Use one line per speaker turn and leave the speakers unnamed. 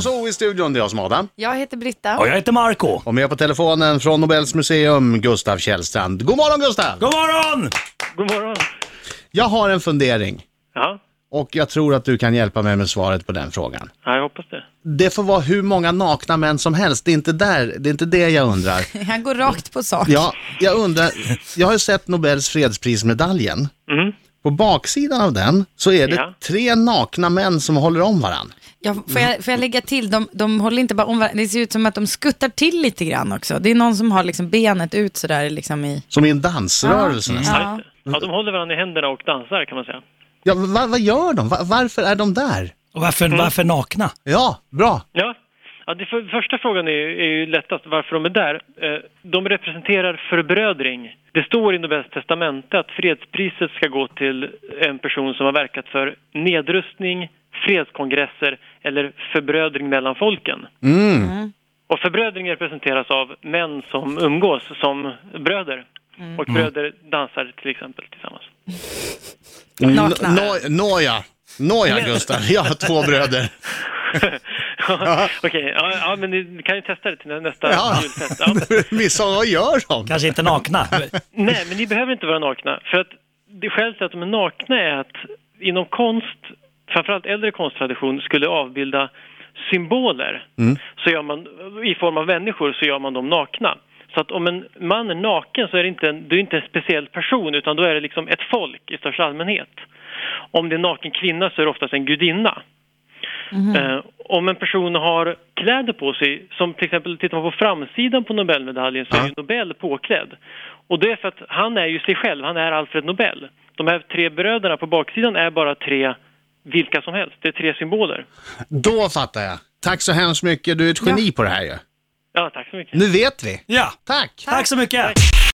Zoo i studion. Det är jag som är Adam.
Jag heter Britta.
Och jag heter Marco.
Och med på telefonen från Nobels museum, Gustav Källstrand. God morgon Gustav!
God morgon!
God morgon.
Jag har en fundering
Ja,
och jag tror att du kan hjälpa mig med svaret på den frågan.
ja jag hoppas det.
Det får vara hur många nakna män som helst, det är inte, där, det, är inte det jag undrar.
Han går rakt på sak.
Ja, jag undrar, jag har ju sett Nobels fredsprismedaljen.
Mm.
På baksidan av den så är det
Ja.
tre nakna män som håller om varandra.
Jag, får, jag, får jag lägga till, de, de håller inte bara om varandra. det ser ut som att de skuttar till lite grann också. Det är någon som har liksom benet ut sådär liksom i...
Som i en
Ah.
dansrörelse nästan.
Ja.
Ja. ja, de håller varandra i händerna och dansar kan man säga.
Ja, va, vad gör de? Va, varför är de där?
Och varför, varför nakna?
Ja, bra.
Ja, ja det för, första frågan är, ju- är ju lättast varför de är där. Eh, de representerar förbrödring. Det står i Nobels testamente att fredspriset ska gå till en person som har verkat för nedrustning, fredskongresser eller förbrödring mellan folken. Och förbrödring representeras av män som umgås som bröder. Och bröder dansar till exempel tillsammans.
Nakna.
Mm. Nå- Nåja, nåja Gustav. Jag har två bröder.
Ja, Okej, ja, ja, men ni kan ju testa det till nä- nästa
Ja.
julfest. Ja, men-
Midsommar, vad gör de?
Kanske inte nakna.
Nej, men ni behöver inte vara nakna. För att det skälet till att de är nakna är att inom konst, framförallt äldre konsttradition, skulle avbilda symboler. Så gör man, I form av människor så gör man dem nakna. Så att om en man är naken så är det inte en, du är inte en speciell person utan då är det liksom ett folk i största allmänhet. Om det är en naken kvinna så är det oftast en gudinna. Eh, om en person har kläder på sig, som till exempel tittar man på framsidan på Nobelmedaljen så är ju Nobel påklädd. Och det är för att han är ju sig själv, han är Alfred Nobel. De här tre bröderna på baksidan är bara tre vilka som helst, det är tre symboler.
Då fattar jag. Tack så hemskt mycket. Du är ett geni på det här ju.
Ja, tack så mycket.
Nu vet vi.
Ja,
Tack!
tack så mycket.